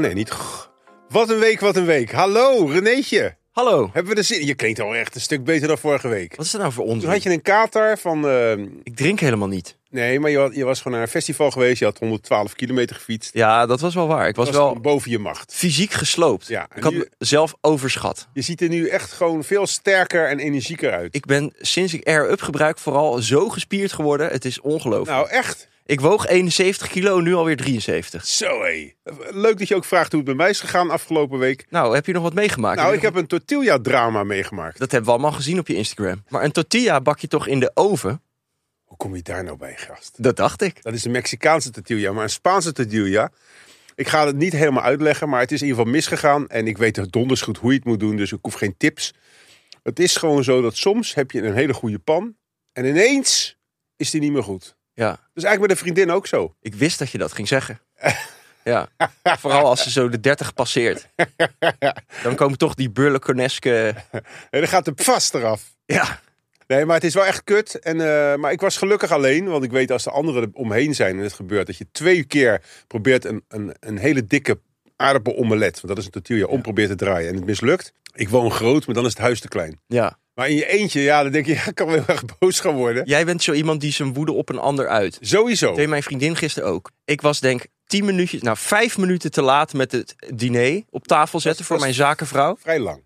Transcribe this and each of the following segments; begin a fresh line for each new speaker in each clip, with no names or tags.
nee, niet. Grr. Wat een week, wat een week. Hallo, Renéetje.
Hallo.
Hebben we de zin? Je klinkt al echt een stuk beter dan vorige week.
Wat is er nou voor
Toen
onzin?
had je een kater van... eh,
Ik drink helemaal niet.
nee, maar je, wa- je was gewoon naar een festival geweest. Je had 112 kilometer gefietst.
Ja, dat was wel waar. Ik was
Dat
wel
boven je macht.
fysiek gesloopt.
Ja, en
ik had
nu-
mezelf overschat.
Je ziet er nu echt gewoon veel sterker en energieker uit.
Ik ben sinds ik Air Up gebruik vooral zo gespierd geworden. Het is ongelooflijk.
Nou, echt.
Ik woog 71 kilo, nu alweer 73.
Zo, hé. Leuk dat je ook vraagt hoe het bij mij is gegaan afgelopen week.
Nou, heb je nog wat meegemaakt?
Nou, ik
je nog-
heb een tortilla-drama meegemaakt.
Dat hebben we allemaal gezien op je Instagram. Maar een tortilla bak je toch in de oven?
Hoe kom je daar nou bij, gast?
Dat dacht ik.
Dat is de Mexicaanse tortilla, maar een Spaanse tortilla. Ik ga het niet helemaal uitleggen, maar het is in ieder geval misgegaan. En ik weet donders goed hoe je het moet doen, dus ik hoef geen tips. Het is gewoon zo dat soms heb je een hele goede pan. En ineens is die niet meer goed.
Ja,
Dat is eigenlijk bij de vriendin ook zo.
ik wist dat je dat ging zeggen. Ja, vooral als ze zo de 30 passeert. Dan komen toch die burlekoneske...
En dan gaat de vast eraf.
Ja,
Nee, maar het is wel echt kut. En, eh, maar ik was gelukkig alleen, want ik weet als de anderen er omheen zijn en het gebeurt, dat je twee keer probeert een, een, een hele dikke aardappelomelet, want dat is een tortilla, om probeert te draaien en het mislukt. Ik woon groot, maar dan is het huis te klein.
ja.
Maar in je eentje, ja, dan denk je, ja, ik kan wel heel erg boos gaan worden.
Jij bent zo iemand die zijn woede op een ander uit.
Sowieso.
Dat deed mijn vriendin gisteren ook. Ik was denk 10 minuutjes, nou 5 minuten te laat met het diner op tafel zetten voor
was-
mijn zakenvrouw.
Vrij lang.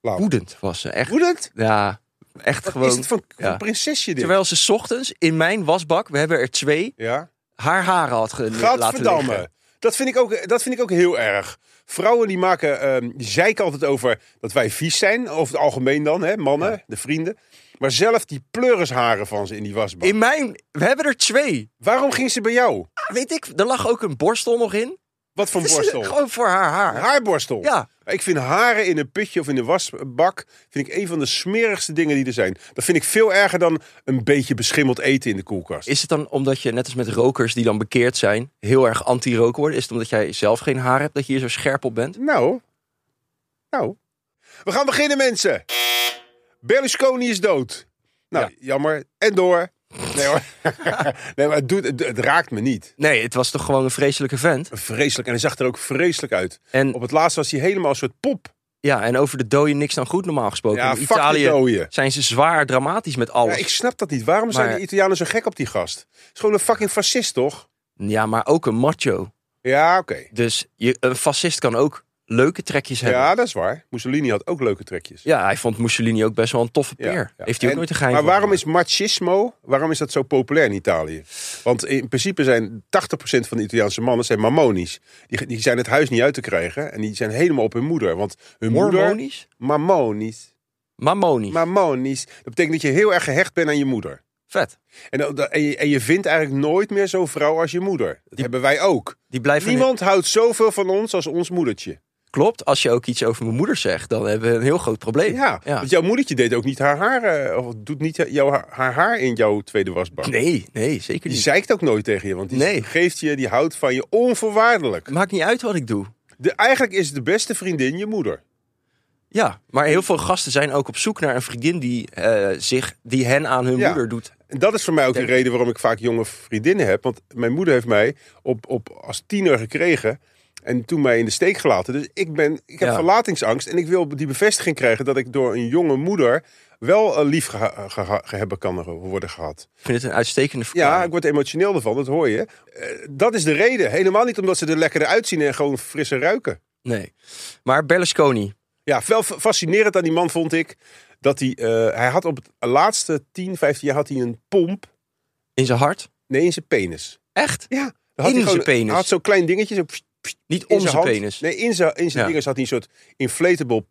Woedend was ze, echt.
Woedend?
Ja, echt
Wat
gewoon.
is het voor voor
ja.
een prinsesje dit?
Terwijl ze 's ochtends in mijn wasbak, we hebben er twee,
Ja.
haar haren had ge- laten
Gadverdamme.
liggen.
Dat vind, ik ook, dat vind ik ook heel erg. Vrouwen die maken, ehm die zeiken altijd over dat wij vies zijn. Over het algemeen dan, hè, mannen, de vrienden. Maar zelf die pleurisharen van ze in die wasbak.
In mijn, we hebben er twee.
Waarom ging ze bij jou?
Weet ik, er lag ook een borstel nog in.
Wat voor
Het is
borstel?
Gewoon voor haar haar.
Haarborstel.
Ja.
Ik vind haren in een putje of in een wasbak vind ik een van de smerigste dingen die er zijn. Dat vind ik veel erger dan een beetje beschimmeld eten in de koelkast.
Is het dan omdat je, net als met rokers die dan bekeerd zijn, heel erg anti-rook worden? Is het omdat jij zelf geen haar hebt dat je hier zo scherp op bent?
Nou. Nou. We gaan beginnen, mensen. Berlusconi is dood. Nou,
Ja.
jammer. En door. Nee hoor. nee, maar het, doet, het, het raakt me niet.
Nee, het was toch gewoon een vreselijke vent.
Vreselijk. En hij zag er ook vreselijk uit.
En
Op het laatst was hij helemaal een soort pop.
Ja, en over de dode niks dan goed normaal gesproken.
Ja,
in
fuck de
Italië
dooien.
zijn ze zwaar dramatisch met
Ja,
alles. Ja,
ik snap dat niet. Waarom zijn
Maar-
de Italianen zo gek op die gast? Het is gewoon een fucking fascist, toch?
maar ook een macho.
Ja, oké.
Dus je, een fascist kan ook leuke trekjes hebben. Ja.
Ja, dat is waar. Mussolini had ook leuke trekjes.
hij vond Mussolini ook best wel een toffe
Ja,
peer.
ja.
Heeft hij ook
En-
nooit een geheim
Maar
van
waarom is
gemaakt.
machismo, waarom is dat zo populair in Italië? Want in principe zijn 80% van de Italiaanse mannen zijn mammonisch. Die, die zijn het huis niet uit te krijgen en die zijn helemaal op hun moeder. Want hun moeder...
Hormonisch?
Mammonisch.
Mammonisch.
Mammonisch. Dat betekent dat je heel erg gehecht bent aan je moeder.
Vet.
En, dat- dat- en, je, en je vindt eigenlijk nooit meer zo'n vrouw als je moeder. Dat hebben wij ook.
Die blijven...
Niemand houdt zoveel van ons als ons moedertje.
Klopt, als je ook iets over mijn moeder zegt, dan hebben we een heel groot probleem.
Ja,
Ja.
want jouw moedertje deed ook niet haar haar... eh, of doet niet jouw, haar, haar haar in jouw tweede wasbak.
Nee, nee, zeker
Die
niet.
zeikt ook nooit tegen je, want die
Nee.
geeft je, die houdt van je onvoorwaardelijk.
Maakt niet uit wat ik doe.
De, eigenlijk is de beste vriendin je moeder.
Ja, maar heel veel gasten zijn ook op zoek naar een vriendin die, eh, zich, die hen aan hun
Ja.
moeder doet.
En dat is voor mij ook de
Denk-
reden waarom ik vaak jonge vriendinnen heb. Want mijn moeder heeft mij op, op, als tiener gekregen en toen mij in de steek gelaten. Dus ik, ben, ik heb
Ja.
verlatingsangst en ik wil die bevestiging krijgen dat ik door een jonge moeder wel eh, lief geha- geha- hebben kan worden gehad.
Ik vind het een uitstekende verklaring.
Ja, ik word emotioneel ervan, dat hoor je. Eh, dat is de reden. Helemaal niet omdat ze er lekker uitzien en gewoon frisse ruiken.
Nee. Maar Berlusconi,
Ja, wel f- fascinerend aan die man vond ik dat hij, eh, hij had op het laatste 10, 15 jaar had hij een pomp,
in zijn hart?
nee, in zijn penis.
Echt?
Ja,
In
dan had hij
zijn
gewoon-
penis?
Hij had zo'n klein dingetje, zo pst, pst,
Niet
in
om zijn
hand.
penis.
Nee, in zijn, in zijn
Ja.
vingers had hij een soort inflatable.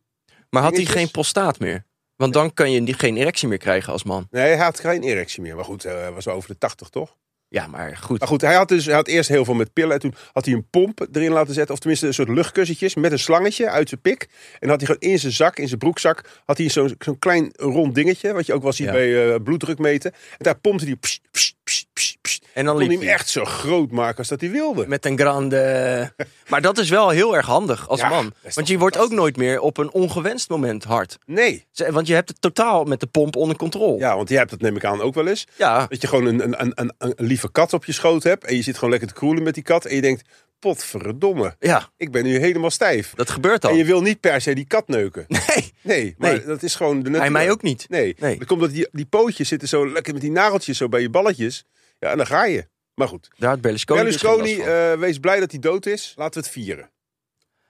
maar had hij
dingetjes.
geen prostaat meer? Want dan kan je die- geen erectie meer krijgen als man.
Nee, hij had geen erectie meer. Maar goed, eh, hij was wel over de 80, toch?
Ja, maar goed.
Maar goed, hij had, dus, hij had eerst heel veel met pillen. En toen had hij een pomp erin laten zetten. Of tenminste een soort luchtkussentjes met een slangetje uit zijn pik. En had hij gewoon in zijn zak, in zijn broekzak, had hij zo'n zo'n klein rond dingetje. Wat je ook wel ziet
Ja.
bij eh, bloeddruk meten. En daar pompte hij pssst, pssst, pssst, pssst, pssst.
En dan
Kon hij
liep
hem
hij.
echt zo groot maken als dat hij wilde.
Met een grande. Maar dat is wel heel erg handig als
Ja,
man.
dat is toch
Want je wordt ook nooit meer op een ongewenst moment hard.
Nee.
Z- Want je hebt het totaal met de pomp onder controle.
Ja, want jij hebt dat neem ik aan ook wel eens.
Ja.
Dat je gewoon een, een, een, een, een lieve kat op je schoot hebt. En je zit gewoon lekker te kroelen met die kat. En je denkt, potverdomme,
ja,
ik ben nu helemaal stijf.
dat gebeurt
En
al.
je wil niet per se die kat neuken.
Nee,
Nee, maar
Nee.
dat is gewoon de
hij
natuur.
mij ook niet.
Nee.
Nee.
Dat komt dat die, die pootjes zitten zo lekker met die nageltjes zo bij je balletjes. Ja, en dan ga je. Maar goed.
Daar had Berlusconi. dus geen
Berlusconi,
last van.
eh, wees blij dat hij dood is. Laten we het vieren.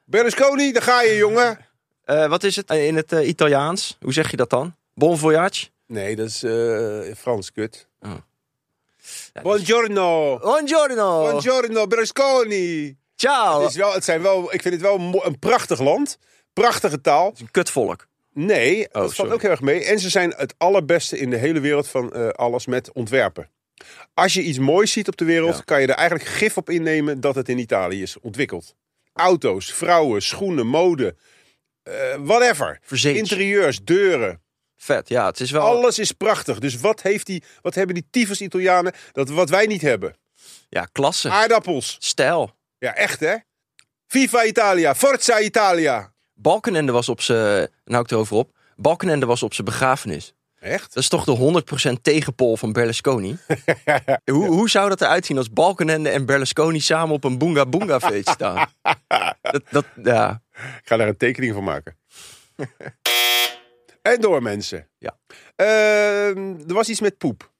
Berlusconi, daar ga je, jongen.
Eh, wat is het eh, in het eh, Italiaans? Hoe zeg je dat dan? Bon voyage?
Nee, dat is eh, Frans, kut.
Ja, dat is- Oh.
Buongiorno.
Buongiorno.
Buongiorno, Berlusconi.
Ciao.
Het is wel, het zijn wel, ik vind het wel een mo- een prachtig land. Prachtige taal.
Een kutvolk.
Nee, dat valt
Oh, sorry.
ook heel erg mee. En ze zijn het allerbeste in de hele wereld van eh, alles met ontwerpen. Als je iets moois ziet op de wereld,
Ja.
kan je er eigenlijk gif op innemen dat het in Italië is ontwikkeld. Auto's, vrouwen, schoenen, mode, eh, whatever.
Verzekerd.
Interieurs, deuren.
Vet, ja. Het is wel...
Alles is prachtig. Dus wat, heeft die, wat hebben die tyfus Italianen dat wat wij niet hebben?
Ja, klasse.
Aardappels.
Stijl.
Ja, echt hè? Viva Italia, Forza Italia.
Balkenende was op zijn... Nou, ik erover op. Balkenende was op zijn begrafenis.
Echt?
Dat is toch de 100% tegenpol van Berlusconi? hoe, hoe zou dat eruit zien als Balkenende en Berlusconi samen op een Boonga Boonga feest staan? dat, dat, ja.
Ik ga daar een tekening van maken. en door mensen.
Ja.
Ehm, er was iets met poep.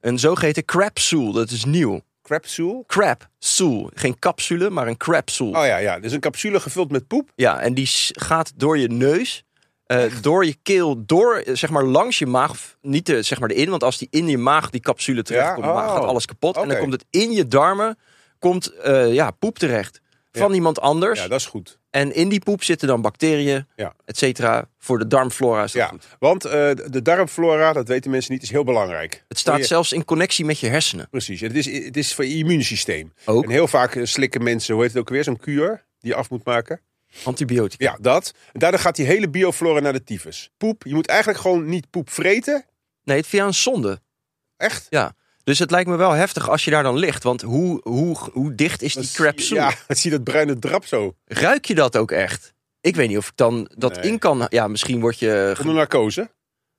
Een zogeheten crapsoel, dat is nieuw.
Crapsule?
Crapsoel. Geen capsule, maar een crapsoel.
Oh ja, ja. Dus een capsule gevuld met poep.
Ja, en die s- gaat door je neus, eh, door je keel, door, eh, zeg maar, langs je maag. F- Niet de, zeg maar erin, want als die in je maag, die capsule terechtkomt,
Ja?
komt,
Oh.
gaat alles kapot. En dan
Oké.
komt het in je darmen, komt eh, ja, poep terecht. Van iemand anders.
Ja, dat is goed.
En in die poep zitten dan bacteriën,
Ja.
et cetera. Voor de darmflora is dat
Ja,
goed.
want eh, de darmflora, dat weten mensen niet, is heel belangrijk.
Het staat
Voor je-
zelfs in connectie met je hersenen.
Precies. Het is, het is voor je immuunsysteem.
Ook.
En heel vaak eh, slikken mensen, hoe heet het ook weer, zo'n kuur die je af moet maken.
Antibiotica.
Ja, dat. En daardoor gaat die hele bioflora naar de tyfus. Poep. Je moet eigenlijk gewoon niet poep vreten.
Nee, het via een zonde.
Echt.
Ja. Dus het lijkt me wel heftig als je daar dan ligt. Want hoe, hoe, hoe dicht is
Dan
die
zie je-
crapsoel?
Ja, dan zie je dat bruine drap zo.
Ruik je dat ook echt? Ik weet niet of ik dan dat
Nee.
in kan. Ja, misschien word je. ge-
Onder narcose.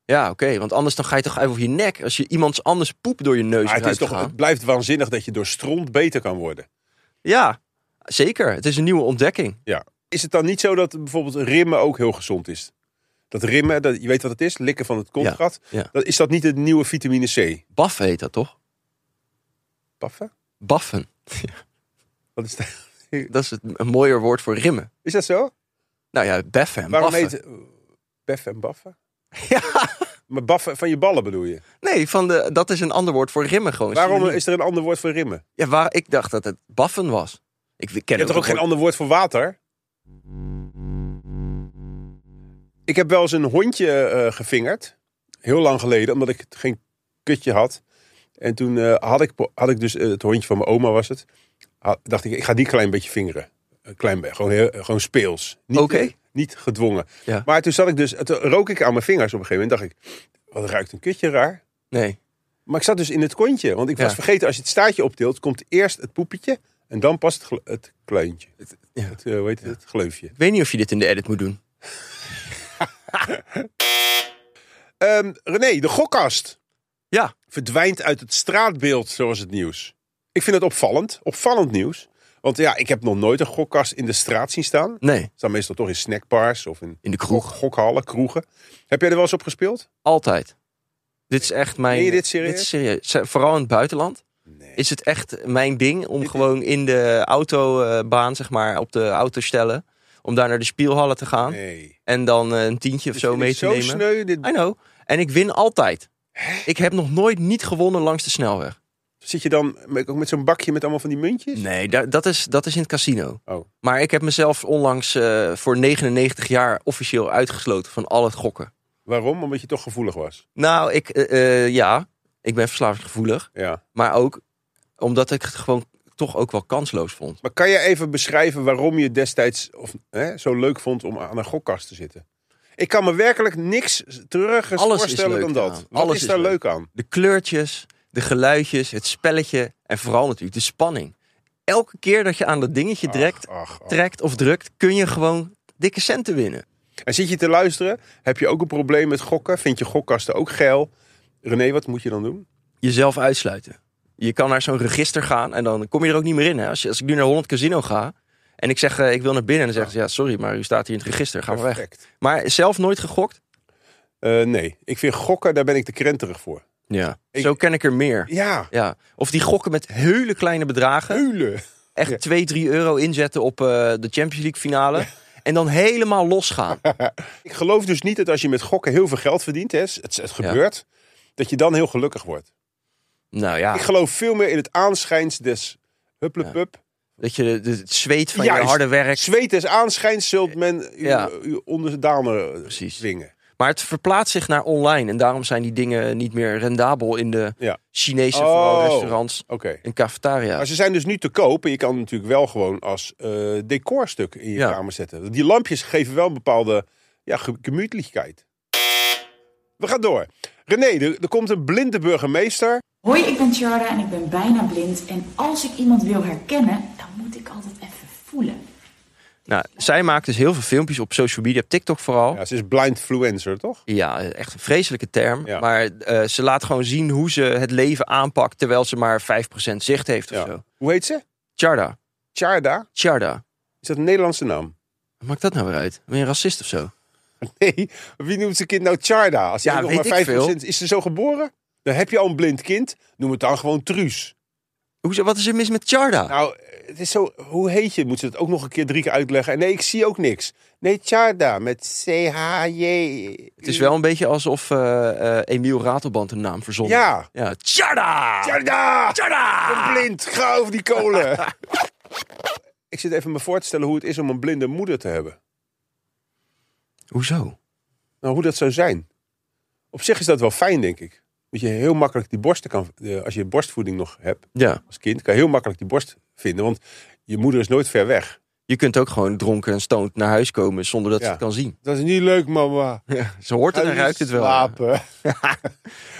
Ja, oké. want anders dan ga je toch even op je nek. Als je iemands anders poep door je neus
Maar Ah, het,
ruikt
is toch,
gaan.
het blijft waanzinnig dat je door stront beter kan worden.
Ja, zeker. Het is een nieuwe ontdekking.
Ja. Is het dan niet zo dat bijvoorbeeld rimmen ook heel gezond is? Dat rimmen, dat, je weet wat het is, likken van het kontgat.
ja.
Dat, is dat niet het nieuwe vitamine C?
Baf heet dat toch?
Paffen?
Baffen.
Wat is, dat?
Dat is het, een mooier woord voor rimmen.
is dat zo?
Nou ja, beffen. en
Waarom
baffen.
heet beffen en baffen?
Ja,
Maar baffen van je ballen bedoel je?
nee, van de, dat is een ander woord voor rimmen gewoon.
Waarom
Synoniem.
is er een ander woord voor rimmen?
Ja, waar, ik dacht dat het baffen was. Ik ken
Je hebt toch ook geen
woord-
ander woord voor water? Ik heb wel eens een hondje eh, gevingerd. Heel lang geleden, omdat ik geen kutje had. En toen eh, had, ik, had ik dus eh, het hondje van mijn oma, was het. Had- dacht ik, ik ga die een klein beetje vingeren. Een klein beetje, gewoon, heel, gewoon speels. Niet,
Oké.
eh, niet gedwongen.
Ja.
Maar toen zat ik dus, toen rook ik aan mijn vingers op een gegeven moment. dacht ik, wat ruikt een kutje raar.
Nee.
Maar ik zat dus in het kontje. Want ik
Ja.
was vergeten, als je het staartje optilt, komt eerst het poepetje. En dan pas het, gl- het kluintje. Het,
ja.
het, eh, hoe heet het? Het gleufje.
Ik weet niet of je dit in de edit moet doen.
Ehm, René, de gokkast
Ja,
verdwijnt uit het straatbeeld, zoals het nieuws. Ik vind het opvallend. Opvallend nieuws. Want ja, ik heb nog nooit een gokkast in de straat zien staan.
nee.
Staan meestal toch in snackbars of in
In de kroeg.
gok- gokhallen, kroegen. Heb jij er wel eens op gespeeld?
Altijd. Dit is echt mijn.
Meen je dit serieus?
is serieus. Ze- Vooral in het buitenland. Is het echt mijn ding om gewoon in de autobaan, zeg maar, op de auto stellen. Om daar naar de spielhallen te gaan.
Nee.
En dan eh, een tientje of
Dit
zo
vind
mee
ik
te
Dus zo
nemen.
sneu. Dit...
I know. En ik win altijd. Ik heb nog nooit niet gewonnen langs de snelweg.
Zit je dan met- ook met zo'n bakje met allemaal van die muntjes?
Nee, da- dat is, dat is in het casino.
Oh.
Maar ik heb mezelf onlangs eh, voor 99 jaar officieel uitgesloten van al het gokken.
Waarom? Omdat je toch gevoelig was.
Nou, ik, eh, eh, ja, ik ben verslavingsgevoelig.
Ja.
Maar ook, Omdat ik het gewoon toch ook wel kansloos vond.
Maar kan je even beschrijven waarom je destijds of, hè, zo leuk vond om aan een gokkast te zitten? Ik kan me werkelijk niks terug
Alles is
voorstellen
leuk
dan dat.
eraan.
Wat
Alles
is
is
daar
leuk.
leuk aan?
De kleurtjes, de geluidjes, het spelletje en vooral natuurlijk de spanning. Elke keer dat je aan dat dingetje trekt,
Ach, ach.
trekt of drukt, kun je gewoon dikke centen winnen.
En zit je te luisteren? Heb je ook een probleem met gokken? Vind je gokkasten ook geil? René, wat moet je dan doen?
Jezelf uitsluiten. Je kan naar zo'n register gaan en dan kom je er ook niet meer in. Hè? Als, je, als ik nu naar Holland Casino ga en ik zeg eh, ik wil naar binnen, dan zeggen ze ja sorry, maar u staat hier in het register, ga maar weg.
Perfect.
Maar zelf nooit gegokt?
Eh, nee, ik vind gokken, daar ben ik te krenterig voor.
Ja.
Ik-
Zo ken ik er meer.
Ja,
Ja. Of die gokken met hele kleine bedragen.
huilen.
Echt 2, 3 euro inzetten op eh, de Champions League finale. En dan helemaal losgaan.
Ik geloof dus niet dat als je met gokken heel veel geld verdient, hè, het, het gebeurt, dat je dan heel gelukkig wordt.
Nou ja,
Ik geloof veel meer in het aanschijns des hupplepup.
dat je de- de- het zweet van je
Juist.
harde werk.
Zweet des aanschijns zult men uw,
Eh, Ja.
uw onderdanen
Precies.
dwingen.
Maar het verplaatst zich naar online. En daarom zijn die dingen niet meer rendabel in de
Ja.
Chinese
Oh.
vooral restaurants
Oké.
en cafetaria.
Maar ze zijn dus nu te koop en je kan natuurlijk wel gewoon als eh, decorstuk in je
Ja.
kamer zetten. Die lampjes geven wel een bepaalde ja, ge- gemütlichkeit. We gaan door. René, er, er komt een blinde burgemeester.
Hoi, ik ben Charda en ik ben bijna blind. En als ik iemand wil herkennen, dan moet ik altijd even voelen.
Nou, zij maakt dus heel veel filmpjes op social media, op TikTok vooral. Ja,
Ja, ze is blindfluencer, toch?
echt een vreselijke term.
Ja.
Maar eh, ze laat gewoon zien hoe ze het leven aanpakt terwijl ze maar 5% zicht heeft of
Ja.
zo.
Hoe heet ze?
Charda,
Charda?
Charda.
Is dat een Nederlandse naam?
Wat maakt dat nou weer uit? Ben je een racist of zo?
Nee, wie noemt zijn kind nou Charda? Als hij
Ja,
nog
weet
maar
ik
5
veel.
is, ze zo geboren? Dan heb je al een blind kind. Noem het dan gewoon Truus.
Hoezo, wat is er mis met Charda?
Nou, het is zo, hoe heet je? Moet ze het ook nog een keer drie keer uitleggen? En nee, ik zie ook niks. Nee, Charda met C-H-J.
het is wel een beetje alsof eh, eh, Emiel Ratelband een naam verzonnen.
Ja.
ja. Charda!
Charda!
Charda!
Ik ben blind, ga over die kolen. ik zit even me voor te stellen hoe het is om een blinde moeder te hebben.
Hoezo?
Nou, hoe dat zou zijn. Op zich is dat wel fijn, denk ik. Dat je heel makkelijk die borsten kan... eh, Als je borstvoeding nog hebt,
Ja.
als kind kan je heel makkelijk die borst vinden. Want je moeder is nooit ver weg.
Je kunt ook gewoon dronken en stoned naar huis komen zonder dat
Ja.
ze het kan zien.
Dat is niet leuk, mama.
Ze hoort het en ruikt het wel.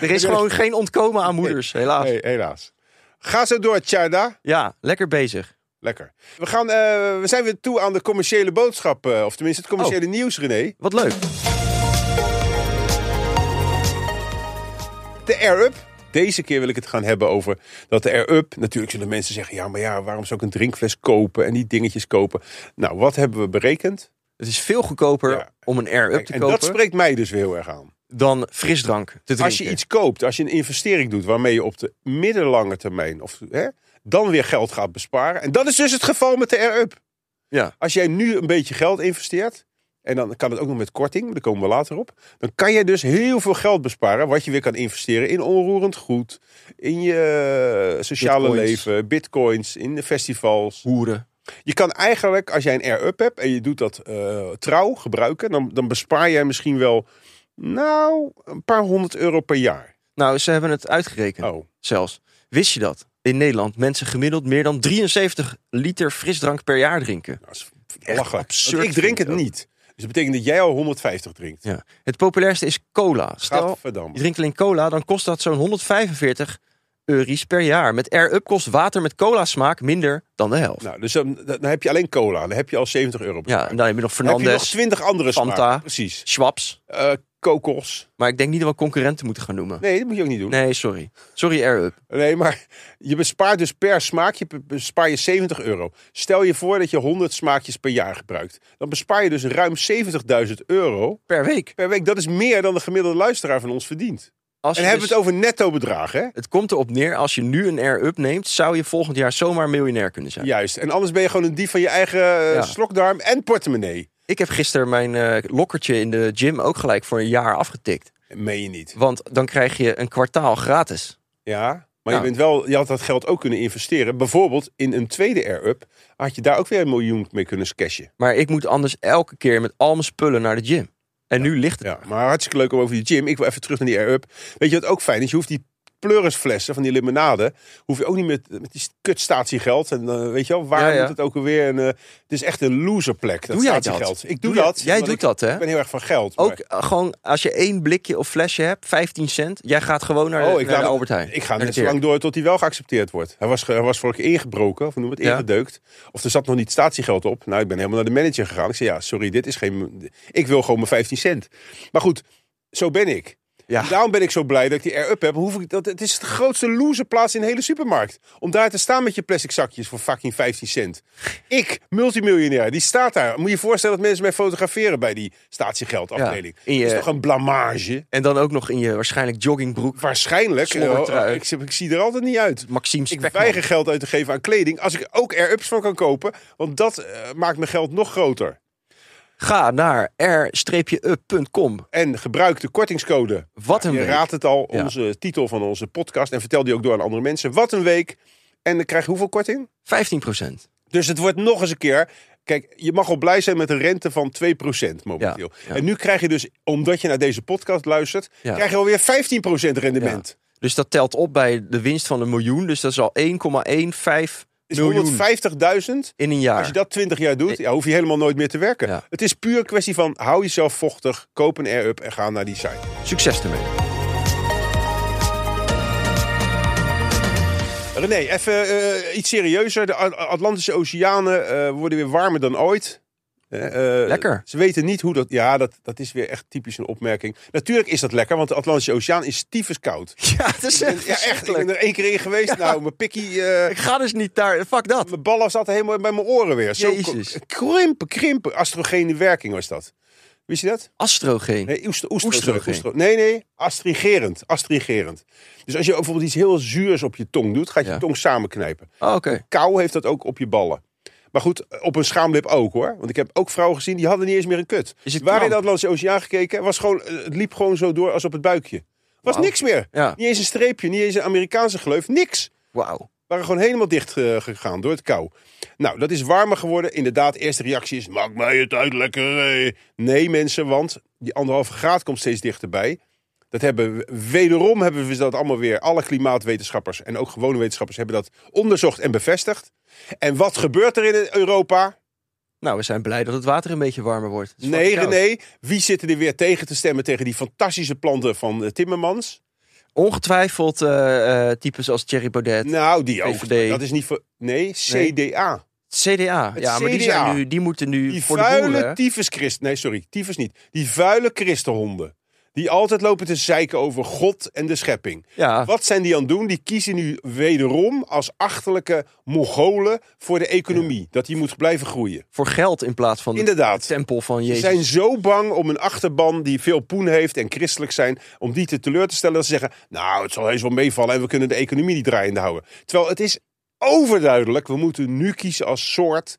Er is gewoon geen ontkomen aan moeders, helaas.
Nee, helaas. Ga zo door, Tjarda.
Ja, lekker bezig.
Lekker. We, gaan, eh, we zijn weer toe aan de commerciële boodschap. eh, of tenminste
Oh.
het commerciële nieuws, René.
Wat leuk.
De Air Up. Deze keer wil ik het gaan hebben over dat de Air Up. Natuurlijk zullen mensen zeggen: ja, maar ja, waarom zou ik een drinkfles kopen en die dingetjes kopen? Nou, wat hebben we berekend?
Het is veel goedkoper
Ja.
om een air-up te
en
kopen
dat spreekt mij dus weer heel erg aan.
dan frisdrank te drinken.
Als je iets koopt, als je een investering doet waarmee je op de middellange termijn of, hè, dan weer geld gaat besparen. En dat is dus het geval met de Air-Up.
Ja.
Als jij nu een beetje geld investeert, en dan kan het ook nog met korting, maar daar komen we later op. Dan kan je dus heel veel geld besparen, wat je weer kan investeren in onroerend goed, in je eh, sociale
Bitcoins.
leven, bitcoins, in de festivals.
hoeren.
Je kan eigenlijk, als jij een air-up hebt en je doet dat eh, trouw gebruiken, dan, dan bespaar jij misschien wel, nou, een paar honderd euro per jaar.
Nou, ze hebben het uitgerekend
Oh.
zelfs. Wist je dat? In Nederland mensen gemiddeld meer dan 73 liter frisdrank per jaar drinken.
Dat is
Echt
belachelijk.
absurd
Want ik drink
vind ik
het
ook.
niet. Dus dat betekent dat jij al 150 drinkt.
Ja. Het populairste is cola. Stel,
Gadverdamme.
je drinkt alleen cola, dan kost dat zo'n 145 euro's per jaar. Met air-up kost water met cola smaak minder dan de helft.
Nou, dus dan, dan heb je alleen cola. Dan heb je al 70 euro
ja,
bespaard.
en dan heb je nog
dan heb je nog
Fernandes,
20 andere
Fanta.
smaken. Precies.
Schwabs.
Eh kokos.
Maar ik denk niet dat we concurrenten moeten gaan noemen.
Nee, dat moet je ook niet doen. Nee.
Nee, sorry. Sorry, Air-Up.
maar je bespaart dus per smaakje pe- bespaar je 70 euro. Stel je voor dat je 100 smaakjes per jaar gebruikt. Dan bespaar je dus ruim 70.000 euro
Per week.
per week. Dat is meer dan de gemiddelde luisteraar van ons verdient.
Als
En
je
hebben we
dus-
het over netto bedragen, hè?
het komt erop neer, als je nu een air-up neemt, zou je volgend jaar zomaar miljonair kunnen zijn.
Juist. En anders ben je gewoon een dief van je eigen eh,
Ja.
slokdarm en portemonnee.
Ik heb gisteren mijn eh, lokkertje in de gym ook gelijk voor een jaar afgetikt.
Meen je niet.
Want dan krijg je een kwartaal gratis.
Ja, maar
Ja.
Je, bent wel, je had dat geld ook kunnen investeren. Bijvoorbeeld in een tweede air-up had je daar ook weer een miljoen mee kunnen cashen.
Maar ik moet anders elke keer met al mijn spullen naar de gym. En nu ligt het.
Ja, maar hartstikke leuk om over die gym. Ik wil even terug naar die air-up. Weet je wat ook fijn is? Je hoeft die pleurisflessen van die limonade. Hoef je ook niet meer t- met die kutstatiegeld. En eh, weet je wel, waar
Ja, ja.
moet het ook alweer? En, eh, het is echt een loserplek, dat
Doe jij dat?
statiegeld. Ik doe,
Doe jij-
dat.
jij
omdat
doet
ik-
dat, hè?
Ik ben heel erg van geld. maar-
Ook eh, gewoon als je één blikje of flesje hebt, 15 cent. Jij gaat gewoon naar, de-
Oh, ik,
naar
laat,
de Albert Heijn.
ik ga
Naar de
net zo
Dirk.
lang door tot hij wel geaccepteerd wordt. Hij was, ge- hij was vorige keer ingebroken, of noem het,
Ja.
ingedeukt. Of er zat nog niet statiegeld op. Nou, ik ben helemaal naar de manager gegaan. Ik zei, ja, sorry, dit is geen... Ik wil gewoon mijn 15 cent. Maar goed, zo ben ik.
Ja.
Daarom ben ik zo blij dat ik die air-up heb. Hoef ik, dat, het is de grootste loserplaats in de hele supermarkt. Om daar te staan met je plastic zakjes voor fucking 15 cent. Ik, multimiljonair, die staat daar. Moet je je voorstellen dat mensen mij fotograferen bij die statiegeldafdeling.
Ja, in
Dat
je-
is toch een blamage?
En dan ook nog in je waarschijnlijk joggingbroek.
Waarschijnlijk.
Slobbertrui.
eh, ik, ik zie er altijd niet uit.
Maxime
Ik
Spekman.
weiger geld uit te geven aan kleding als ik ook air-ups van kan kopen. Want dat eh, maakt mijn geld nog groter.
Ga naar r-up.com.
En gebruik de kortingscode.
Wat een
Je
week.
raadt het al,
Ja.
onze titel van onze podcast. En vertel die ook door aan andere mensen. Wat een week. En dan krijg je hoeveel korting?
15 procent.
Dus het wordt nog eens een keer. Kijk, je mag al blij zijn met een rente van 2% momenteel.
Ja, ja.
En nu krijg je dus, omdat je naar deze podcast luistert,
Ja.
krijg je alweer 15% rendement.
Dus dat telt op bij de winst van een miljoen. Dus dat is al 1,15
Is
miljoen
150.000
in een jaar.
Als je dat 20 jaar doet, ja, hoef je helemaal nooit meer te werken.
Ja.
Het is puur een kwestie van hou jezelf vochtig, koop een air-up en ga naar die site.
Succes ermee.
René, even eh, iets serieuzer. De A- Atlantische Oceanen eh, worden weer warmer dan ooit. Eh, eh,
Lekker.
Ze weten niet hoe dat... Ja, dat, dat is weer echt typisch een opmerking. Natuurlijk is dat lekker, want de Atlantische Oceaan is tyfus koud.
Ja, het is echt,
Ja, echt. Ik
verschrikkelijk.
ben er één keer in geweest. Nou, mijn pikkie... eh,
Ik ga dus niet daar. Fuck dat.
mijn ballen zaten helemaal bij mijn oren weer. Zo
Jezus.
krimpen, krimpen. Astrogene werking was dat. Wist je dat?
Astrogeen.
Nee, oester, oester,
Oestrogeen.
sorry, oestro- nee, nee, astrigerend, astrigerend. Dus als je bijvoorbeeld iets heel zuurs op je tong doet, gaat je
Ja.
tong samenknijpen.
Oh, Oké.
Kou heeft dat ook op je ballen. Maar goed, eh, op een schaamlip ook hoor. Want ik heb ook vrouwen gezien, die hadden niet eens meer een kut.
Is
Die
het
waren in
kramp?
de Atlantische Oceaan gekeken, was gewoon, eh, het liep gewoon zo door als op het buikje. Was
Wauw.
niks meer.
Ja.
Niet eens een streepje, niet eens een Amerikaanse gleuf, niks
Wauw.
waren gewoon helemaal dicht eh, gegaan door het kou. Nou, dat is warmer geworden. Inderdaad, eerste reactie is, maakt mij het uit lekker. hè? Nee, mensen, want die anderhalve graad komt steeds dichterbij. Dat hebben we- wederom hebben we dat allemaal weer. Alle klimaatwetenschappers en ook gewone wetenschappers hebben dat onderzocht en bevestigd. En wat gebeurt er in Europa?
Nou, we zijn blij dat het water een beetje warmer wordt. Het is
Nee,
fucking koud.
René, wie zitten er weer tegen te stemmen tegen die fantastische planten van eh, Timmermans?
Ongetwijfeld eh, eh, types als Thierry Baudet.
Nou, die over.
VVD.
Dat is niet voor. Nee, CDA.
CDA.
Het
ja, maar die,
CDA.
zijn nu, die moeten nu
Die
voor de boeren.
vuile tyfuschristen. Nee, sorry, tyfus niet. Die vuile christenhonden. Die altijd lopen te zeiken over God en de schepping.
Ja.
Wat zijn die aan het doen? Die kiezen nu wederom als achterlijke Mongolen voor de economie. Dat die moet blijven groeien.
Voor geld in plaats van de
Inderdaad.
tempel van
Ze
Jezus.
zijn zo bang om een achterban die veel poen heeft en christelijk zijn, om die te teleur te stellen dat ze zeggen, nou, het zal heus wel meevallen en we kunnen de economie niet draaiende houden. Terwijl het is overduidelijk, we moeten nu kiezen als soort.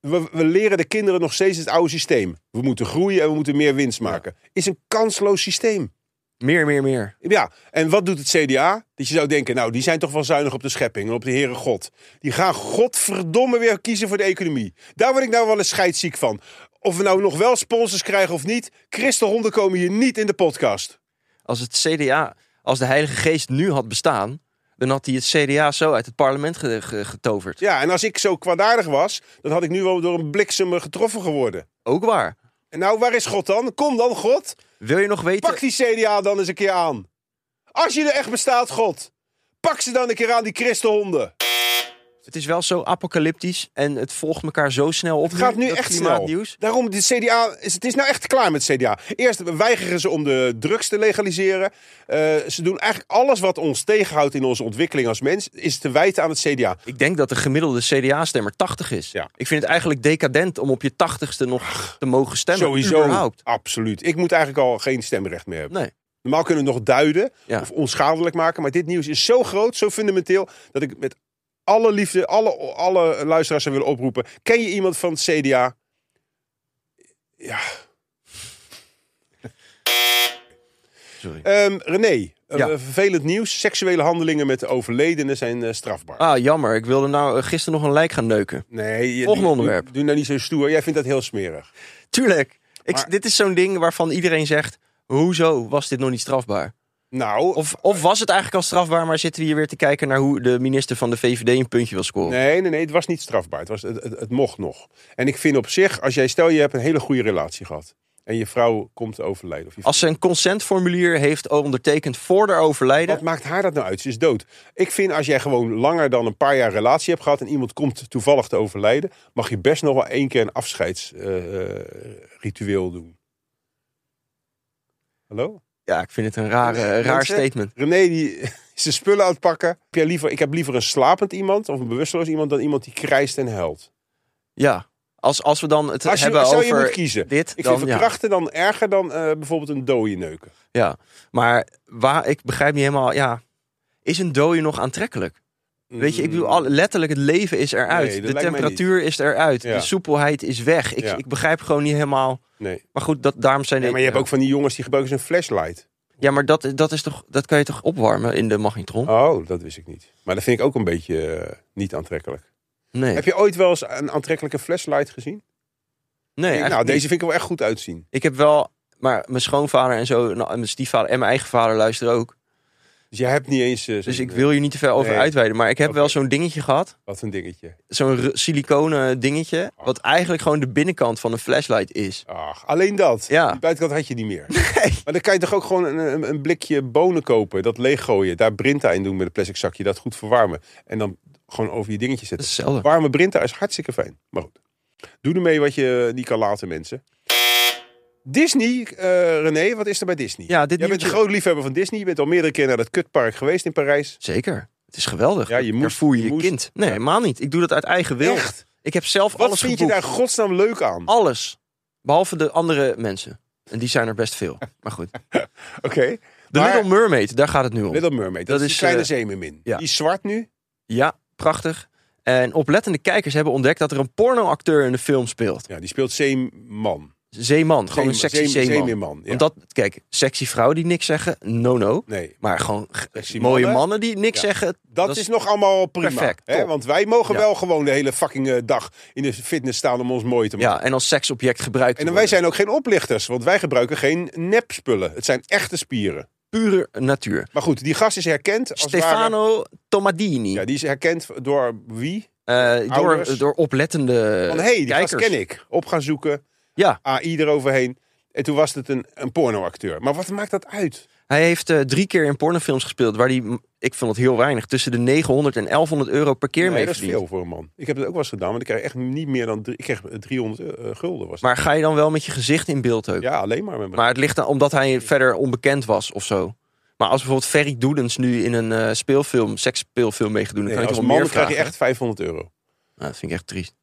We, we leren de kinderen nog steeds het oude systeem. We moeten groeien en we moeten meer winst maken. Is een kansloos systeem.
Meer, meer, meer.
Ja, en wat doet het CDA? Dat je zou denken, nou, die zijn toch wel zuinig op de schepping en op de Heere God. Die gaan godverdomme weer kiezen voor de economie. Daar word ik nou wel eens scheidsziek van. Of we nou nog wel sponsors krijgen of niet, christenhonden komen hier niet in de podcast.
Als het CDA, als de Heilige Geest nu had bestaan, dan had hij het CDA zo uit het parlement ge- ge- getoverd.
Ja, en als ik zo kwaadaardig was, dan had ik nu wel door een bliksem eh, getroffen geworden.
Ook waar.
En nou, waar is God dan? Kom dan, God.
Wil je nog weten?
Pak die CDA dan eens een keer aan. Als je er echt bestaat, God. Pak ze dan een keer aan, die christenhonden.
Het is wel zo apocalyptisch en het volgt elkaar zo snel op.
Het gaat nu
dat
echt snel.
klimaatnieuws.
Daarom, de CDA, is- het is nou echt klaar met CDA. Eerst weigeren ze om de drugs te legaliseren. Eh, ze doen eigenlijk alles wat ons tegenhoudt in onze ontwikkeling als mens, is te wijten aan het CDA.
Ik denk dat de gemiddelde CDA-stemmer 80 is.
Ja.
Ik vind het eigenlijk decadent om op je 80ste nog te mogen stemmen.
Sowieso.
überhaupt.
Absoluut. Ik moet eigenlijk al geen stemrecht meer hebben.
Nee.
Normaal kunnen we het nog duiden
Ja.
of onschadelijk maken. Maar dit nieuws is zo groot, zo fundamenteel, dat ik met alle liefde, alle, alle luisteraars zou willen oproepen. Ken je iemand van het CDA? Ja.
Sorry.
Ehm, René, eh,
Ja.
vervelend nieuws. Seksuele handelingen met de overledenen zijn eh, strafbaar.
Ah, jammer. Ik wilde nou eh, gisteren nog een lijk gaan neuken.
Nee, je-
Volgende
doe-
onderwerp.
Doe, nou niet zo stoer. Jij vindt dat heel smerig.
Tuurlijk. Ik,
Maar-
Dit is zo'n ding waarvan iedereen zegt... Hoezo was dit nog niet strafbaar?
Nou,
Of, of was het eigenlijk al strafbaar, maar zitten we hier weer te kijken naar hoe de minister van de VVD een puntje wil scoren?
nee, nee, nee, het was niet strafbaar. Het, was, het, het, het mocht nog. En ik vind op zich, als jij stel je hebt een hele goede relatie gehad. En je vrouw komt te overlijden. Of je
Als ze een consentformulier heeft ondertekend voor haar overlijden,
Wat maakt haar dat nou uit? Ze is dood. Ik vind als jij gewoon langer dan een paar jaar relatie hebt gehad en iemand komt toevallig te overlijden, mag je best nog wel één keer een afscheidsritueel doen. Hallo?
ja, ik vind het een rare, een eh, raar
Mensen?
statement.
René die is zijn spullen aan het pakken. Heb jij liever, ik heb liever een slapend iemand of een bewusteloos iemand dan iemand die krijst en huilt.
Ja, als, als we dan het
Als je,
hebben
zou
over
je moeten kiezen.
dit,
ik
dan
vind
ja.
verkrachten dan erger dan eh, bijvoorbeeld een dode neuken.
Ja, maar waar, ik begrijp niet helemaal, ja, is een dode nog aantrekkelijk? Weet je, ik bedoel, al- letterlijk het leven is eruit.
Mm. Nee, dat
de
lijkt mij
temperatuur is eruit.
Ja.
De soepelheid is weg. Ik,
Ja.
ik begrijp gewoon niet helemaal.
Nee.
Maar goed, dat, daarom zijn
nee,
de-
maar je hebt ook van die jongens die gebruiken zo'n flashlight.
Ja, maar dat, dat, is toch, dat kan je toch opwarmen in de magnetron?
Oh, dat wist ik niet. Maar dat vind ik ook een beetje eh, niet aantrekkelijk.
nee.
Heb je ooit wel eens een aantrekkelijke flashlight gezien?
nee
Ik- nou,
eigenlijk
deze vind ik er wel echt goed uitzien.
Ik heb wel, maar mijn schoonvader en zo, nou, en mijn stiefvader en mijn eigen vader luisteren ook.
Dus jij hebt niet eens... eh, zo'n-
Dus ik wil je niet te ver over
Nee.
uitweiden. Maar ik heb
Oké.
wel zo'n dingetje gehad.
Wat een dingetje.
Zo'n ru- siliconen dingetje. Wat eigenlijk gewoon de binnenkant van een flashlight is.
Ach, alleen dat.
Ja.
Die buitenkant had je niet meer. Maar dan kan je toch ook gewoon een, een, een blikje bonen kopen. Dat leeggooien. Daar Brinta in doen met een plastic zakje. Dat goed verwarmen. En dan gewoon over je dingetje
Dat
zetten.
is hetzelfde.
Warme Brinta is hartstikke fijn. Maar goed. Doe ermee wat je eh, niet kan laten, mensen. Disney, eh, René, wat is er bij Disney?
Ja,
Jij
dit
bent een
nieuwtje-
groot liefhebber van Disney. Je bent al meerdere keer naar dat kutpark geweest in Parijs.
Zeker. Het is geweldig.
Ja, je
Daar
moest-
voer je
je
je
moest.
kind. Nee,
Ja.
helemaal niet. Ik doe dat uit eigen wil.
Echt?
Ik heb zelf
Wat
alles
vind
geboekt.
je daar godsnaam leuk aan?
Alles. Behalve de andere mensen. En die zijn er best veel. Maar goed.
Oké.
De
Maar-
Little Mermaid, daar gaat het nu om.
Little Mermaid, dat,
Dat
is die
is,
kleine
eh,
zeemermin.
ja.
Die is zwart nu.
Ja, prachtig. En oplettende kijkers hebben ontdekt dat er een pornoacteur in de film speelt.
Ja, die speelt zeeman.
Zeeman, gewoon een
Zeem-
sexy
zeem-
zeeman.
zeemeerman, ja.
Want dat, kijk, sexy vrouwen die niks zeggen, no no.
Nee.
Maar gewoon g-
Sexy
mooie
mannen.
mannen, die niks
Ja.
zeggen.
Dat, is nog allemaal prima.
perfect,
hè?
top.
Want wij mogen
Ja.
wel gewoon de hele fucking eh, dag in de fitness staan om ons mooi te maken.
Ja, en als seksobject gebruikt
En
te
dan, wij
worden.
zijn ook geen oplichters, want wij gebruiken geen nepspullen. Het zijn echte spieren.
pure natuur.
Maar goed, die gast is herkend. Als het ware-
Stefano Tomadini.
ja, die is herkend door wie?
Eh,
ouders.
door, door oplettende
Van hé, hey, die
kijkers.
gast ken ik. Op gaan zoeken,
Ja,
AI eroverheen. En toen was het een, een pornoacteur. Maar wat maakt dat uit?
hij heeft eh, drie keer in pornofilms gespeeld... waar hij, m- ik vond het heel weinig, tussen de 900 en 1100 euro per keer mee
Nee, dat is
verdient.
veel voor een man. Ik heb dat ook wel eens gedaan, maar ik kreeg echt niet meer dan drie, ik kreeg 300 eh, gulden. Was het.
Maar ga je dan wel met je gezicht in beeld ook?
ja, alleen maar met mijn-
Maar het ligt aan, omdat hij verder onbekend was of zo. Maar als bijvoorbeeld Ferry Doedens nu in een eh, speelfilm, seksspeelfilm mee gaat doen... dan
Nee,
kan je
als
toch
man
wel meer
dan krijg je
vragen,
echt 500 euro.
hè? Nou, dat vind ik echt triest.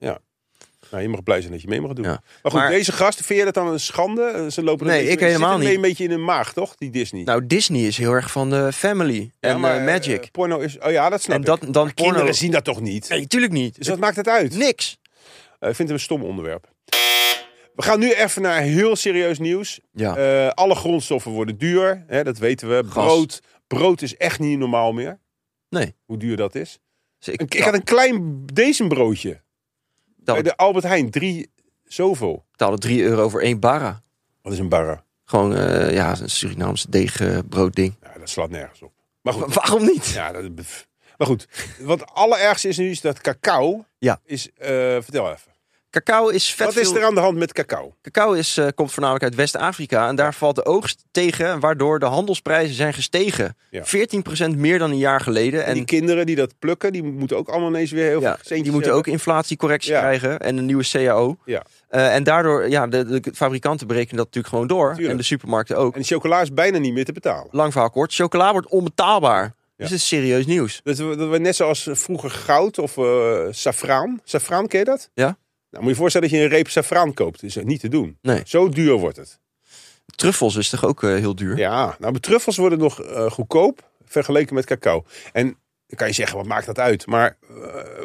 Nou, je mag blij zijn dat je mee mag doen.
Ja.
Maar goed,
Maar-
deze gast, vind je dat dan een schande? Eh, Ze lopen een
Nee,
beetje-
ik
ze zitten
helemaal
ermee
niet.
een beetje in hun maag, toch? Die Disney.
Nou, Disney is heel erg van de family
Ja,
en
maar,
eh,
eh,
magic.
porno is... Oh ja, dat snap
en dat,
ik.
dan porno...
Kinderen zien dat toch niet?
Nee, tuurlijk niet.
Dus wat maakt het uit?
Niks.
Eh, ik vind het een stom onderwerp. We gaan nu even naar heel serieus nieuws.
Ja.
Eh, alle grondstoffen worden duur. Hè, dat weten we. Brood. Brood is echt niet normaal meer.
Nee.
Hoe duur dat is.
Dus ik,
Ik, ik had een klein bezembroodje. Bij
betaalde,
de Albert Heijn. Drie zoveel.
betaalde 3 euro voor één barra.
Wat is een barra?
Gewoon, eh, ja, een Surinaamse deegbrood-ding.
Ja, dat slaat nergens op. Maar goed.
Waarom niet?
Ja, dat, pff. maar goed. Wat het allerergste is nu is dat cacao.
Ja.
Is, eh, vertel even.
Cacao is vet
Wat is
veel-
er aan de hand met cacao?
Cacao is, eh, komt voornamelijk uit West-Afrika en daar valt de oogst tegen, waardoor de handelsprijzen zijn gestegen.
Ja.
14% meer dan een jaar geleden.
En
En
die kinderen die dat plukken, die moeten ook allemaal ineens weer heel veel
ja,
centjes
die moeten
hebben.
ook inflatiecorrectie
Ja.
krijgen en een nieuwe CAO.
Ja.
Eh, en daardoor, ja, de, de fabrikanten berekenen dat natuurlijk gewoon door.
Tuurlijk.
En de supermarkten ook.
En de chocola is bijna niet meer te betalen.
Lang verhaal kort, chocola wordt onbetaalbaar. Dus het is serieus nieuws.
Dat we, dat we net zoals vroeger goud of eh safraan. Safraan, ken je dat?
Ja.
Nou, moet je je voorstellen dat je een reep safraan koopt. is eh, niet te doen.
Nee.
Zo duur wordt het.
Truffels is toch ook eh, heel duur?
Ja, nou, de truffels worden nog eh, goedkoop vergeleken met cacao. En dan kan je zeggen, wat maakt dat uit? Maar eh,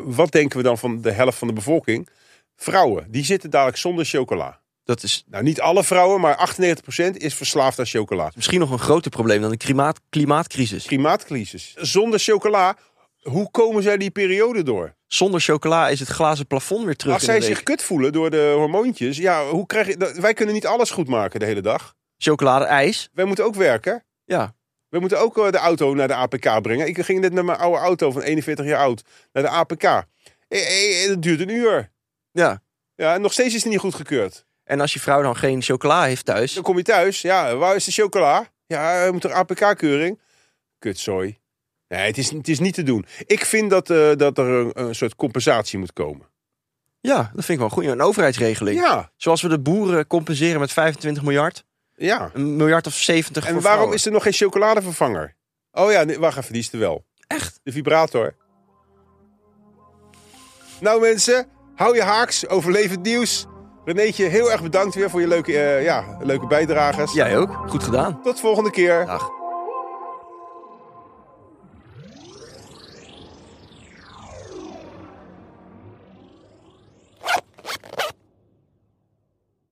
wat denken we dan van de helft van de bevolking? Vrouwen, die zitten dadelijk zonder chocola.
Dat is
Nou, niet alle vrouwen, maar 98% is verslaafd aan chocola.
misschien nog een groter probleem dan de klimaat, klimaatcrisis.
Klimaatcrisis. Zonder chocola, hoe komen zij die periode door?
Zonder chocola is het glazen plafond weer terug.
Als
in de
zij
week.
zich kut voelen door de hormoontjes, ja, hoe krijg je... dat- Wij kunnen niet alles goed maken de hele dag.
Chocolade ijs.
Wij moeten ook werken.
Ja.
We moeten ook eh, de auto naar de APK brengen. Ik ging net met mijn oude auto van 41 jaar oud naar de APK. Eh, eh, eh, dat duurt een uur.
Ja.
Ja, en nog steeds is het niet goedgekeurd.
En als je vrouw dan geen chocola heeft thuis.
Dan kom je thuis. Ja, waar is de chocola? Ja, eh, moet er APK-keuring? Kutzooi. Nee, het is, het is niet te doen. Ik vind dat, eh, dat er een, een soort compensatie moet komen.
Ja, dat vind ik wel goed. Een overheidsregeling.
Ja,
Zoals we de boeren compenseren met 25 miljard.
ja.
Een miljard of 70
En
voor
waarom
vrouwen.
is er nog geen chocoladevervanger? Oh ja, nee, wacht even, die is er wel.
Echt?
De vibrator. Nou mensen, hou je haaks, overleef het nieuws. Renéetje, heel erg bedankt weer voor je leuke, eh, ja, leuke bijdrages.
Jij ook. Goed gedaan.
Tot volgende keer.
Dag.